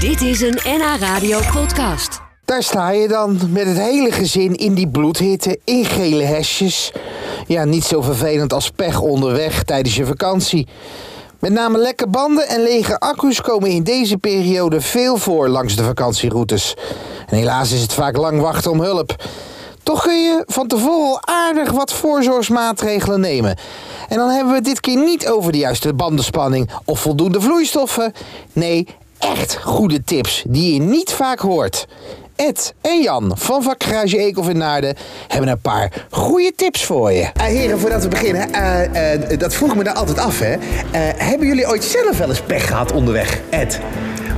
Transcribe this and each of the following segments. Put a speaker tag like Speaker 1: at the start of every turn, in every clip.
Speaker 1: Dit is een NH Radio podcast.
Speaker 2: Daar sta je dan met het hele gezin in die bloedhitte, in gele hesjes. Ja, niet zo vervelend als pech onderweg tijdens je vakantie. Met name lekke banden en lege accu's komen in deze periode veel voor langs de vakantieroutes. En helaas is het vaak lang wachten om hulp. Toch kun je van tevoren al aardig wat voorzorgsmaatregelen nemen. En dan hebben we het dit keer niet over de juiste bandenspanning of voldoende vloeistoffen. Nee, echt goede tips die je niet vaak hoort. Ed en Jan van vakgarage Eekhof in Naarden hebben een paar goede tips voor je. Eh, heren, voordat we beginnen, eh, eh, dat vroeg me daar altijd af. Hè. Eh, hebben jullie ooit zelf wel eens pech gehad onderweg, Ed?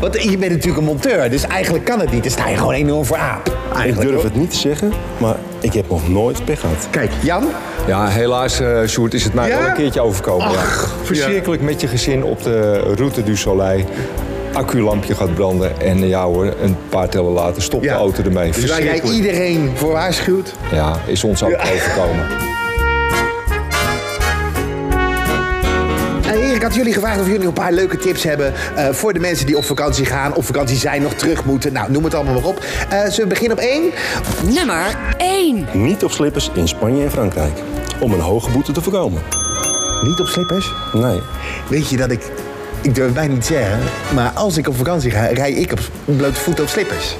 Speaker 2: Want je bent natuurlijk een monteur, dus eigenlijk kan het niet. Dan sta je gewoon enorm voor aap.
Speaker 3: Ik
Speaker 2: Eigenlijk,
Speaker 3: durf
Speaker 2: hoor.
Speaker 3: het niet te zeggen, maar ik heb nog nooit pech gehad.
Speaker 2: Kijk, Jan,
Speaker 4: Ja, helaas, eh Sjoerd, is het mij
Speaker 2: Ja?
Speaker 4: wel een keertje overkomen. ja. Verschrikkelijk met je gezin op de route du Soleil. Acculampje gaat branden en eh, ja hoor, een paar tellen later stopt
Speaker 2: Ja.
Speaker 4: de auto ermee.
Speaker 2: dus waar jij
Speaker 4: Verschrikkelijk.
Speaker 2: iedereen voor waarschuwt.
Speaker 4: Ja, is ons ook overkomen.
Speaker 2: Eh, heren, ik had jullie gevraagd of jullie een paar leuke tips hebben eh, voor de mensen die op vakantie gaan, op vakantie zijn, nog terug moeten. Nou, noem het allemaal maar op. Eh, zullen we beginnen op één?
Speaker 1: Nummer 1.
Speaker 3: Niet op slippers in Spanje en Frankrijk. Om een hoge boete te voorkomen.
Speaker 2: Niet op slippers.
Speaker 3: Nee.
Speaker 2: Weet je dat ik. Ik durf het bijna niet te zeggen, maar als ik op vakantie ga, rij ik op s- blote voeten op slippers.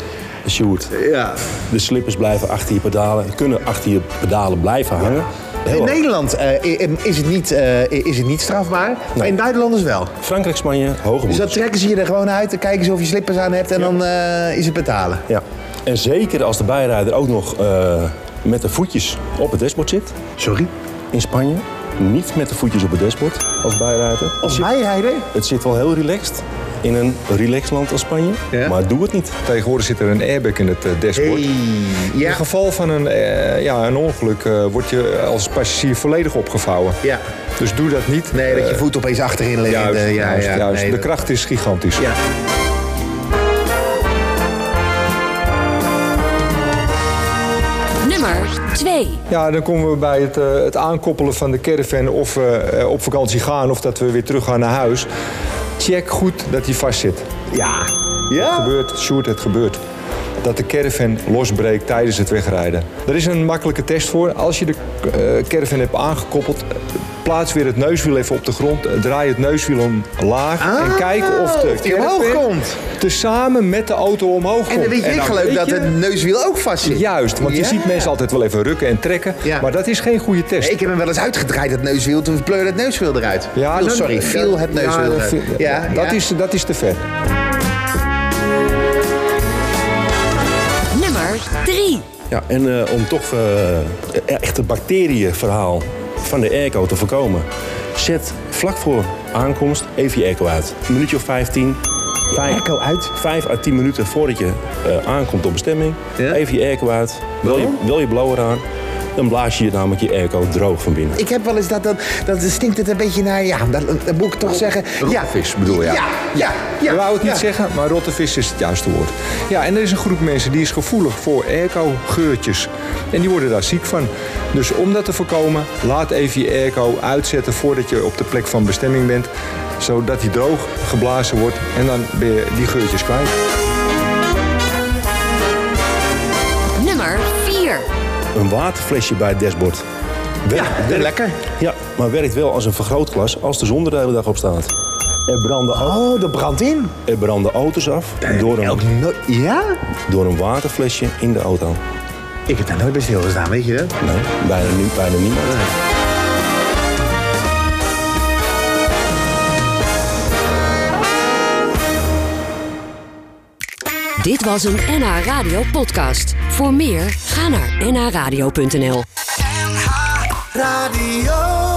Speaker 3: Sjoerd,
Speaker 2: Ja.
Speaker 3: de slippers blijven achter je pedalen. Kunnen achter je pedalen blijven hangen. Heel
Speaker 2: In
Speaker 3: erg.
Speaker 2: Nederland eh, i- i- is, het niet, eh, is het niet strafbaar, maar
Speaker 3: Nee.
Speaker 2: in Duitsland is wel.
Speaker 3: Frankrijk, Spanje, hoge
Speaker 2: Dus
Speaker 3: boetes.
Speaker 2: dat trekken ze je er gewoon uit, dan kijken ze of je slippers aan hebt en dan eh, is het betalen.
Speaker 3: Ja. En zeker als de bijrijder ook nog eh, met de voetjes op het dashboard zit.
Speaker 2: Sorry?
Speaker 3: In Spanje. Niet met de voetjes op het dashboard als bijrijder.
Speaker 2: Als bijrijder?
Speaker 3: Het zit wel heel relaxed in een relaxed land als Spanje.
Speaker 2: Ja.
Speaker 3: Maar doe het niet.
Speaker 4: Tegenwoordig zit er een airbag in het eh, dashboard. In
Speaker 2: Ja.
Speaker 4: het geval van een, eh, ja, een ongeluk eh, word je als passagier volledig opgevouwen.
Speaker 2: Ja.
Speaker 4: Dus doe dat niet.
Speaker 2: Nee, dat je
Speaker 4: Eh,
Speaker 2: voet opeens achterin ligt.
Speaker 4: Juist,
Speaker 2: Eh, ja,
Speaker 4: juist,
Speaker 2: ja,
Speaker 4: juist.
Speaker 2: nee,
Speaker 4: de
Speaker 2: dat-
Speaker 4: kracht is gigantisch.
Speaker 2: Ja.
Speaker 1: Nummer 2.
Speaker 4: Ja, dan komen we bij het, eh, het aankoppelen van de caravan of we eh, op vakantie gaan of dat we weer terug gaan naar huis. Check goed dat die vast zit.
Speaker 2: Ja.
Speaker 4: Het
Speaker 2: Ja?
Speaker 4: gebeurt, Sjoerd, het gebeurt. Dat de caravan losbreekt tijdens het wegrijden. Er is een makkelijke test voor. Als je de eh, caravan hebt aangekoppeld, eh, plaats weer het neuswiel even op de grond. eh, Draai het neuswiel omlaag en kijk of de
Speaker 2: Ah, of die omhoog komt.
Speaker 4: tezamen met de auto omhoog komt.
Speaker 2: En dan weet je
Speaker 4: dan
Speaker 2: geloof
Speaker 4: weet
Speaker 2: dat
Speaker 4: je-
Speaker 2: het neuswiel ook vast zit.
Speaker 4: Juist, want je
Speaker 2: Ja.
Speaker 4: ziet mensen altijd wel even rukken en trekken.
Speaker 2: Ja.
Speaker 4: Maar dat is geen goede test.
Speaker 2: Ik heb hem wel eens uitgedraaid, dat neuswiel. Toen pleurde het neuswiel eruit.
Speaker 4: Ja,
Speaker 2: Viel,
Speaker 4: dan-
Speaker 2: sorry, viel
Speaker 4: dat-
Speaker 2: het
Speaker 4: ja,
Speaker 2: neuswiel
Speaker 4: dat
Speaker 2: eruit.
Speaker 4: viel- dat, Is, dat is te ver.
Speaker 1: Nummer 3.
Speaker 3: Ja, en eh, om toch eh echt het bacteriënverhaal van de airco te voorkomen. Zet vlak voor aankomst even je airco uit. Een minuutje of 15. Vijf,
Speaker 2: Airco uit?
Speaker 3: 5 à 10 minuten voordat je eh, aankomt op bestemming.
Speaker 2: Ja.
Speaker 3: Even je airco uit. Wel je, wel je blower aan. Dan blaas je namelijk je airco droog van binnen.
Speaker 2: Ik heb wel eens dat, dat, dat stinkt het een beetje naar, ja, dat, dat moet ik toch zeggen. Ja,
Speaker 4: Roetvis bedoel je?
Speaker 2: Ja, ja, ja.
Speaker 4: Je wou het niet
Speaker 2: ja.
Speaker 4: zeggen, maar rotte vis is het juiste woord. Ja, en er is een groep mensen die is gevoelig voor airco-geurtjes. En die worden daar ziek van. Dus om dat te voorkomen, laat even je airco uitzetten voordat je op de plek van bestemming bent. Zodat die droog geblazen wordt en dan ben je die geurtjes kwijt.
Speaker 1: Nummer 4.
Speaker 3: Een waterflesje bij het dashboard. Werkt-
Speaker 2: Ja,
Speaker 3: werkt-
Speaker 2: lekker.
Speaker 3: Ja, maar werkt wel als een vergrootglas als de zon er de hele dag op staat. Er branden, au-
Speaker 2: Oh, dat brandt in.
Speaker 3: er branden auto's af door een,
Speaker 2: No- ja?
Speaker 3: door een waterflesje in de auto.
Speaker 2: Ik heb daar nooit bij stilgestaan, weet je dat?
Speaker 3: Nee, bijna, nie- bijna niemand.
Speaker 1: Dit was een NH Radio podcast. Voor meer, ga naar nhradio.nl.
Speaker 5: Radio.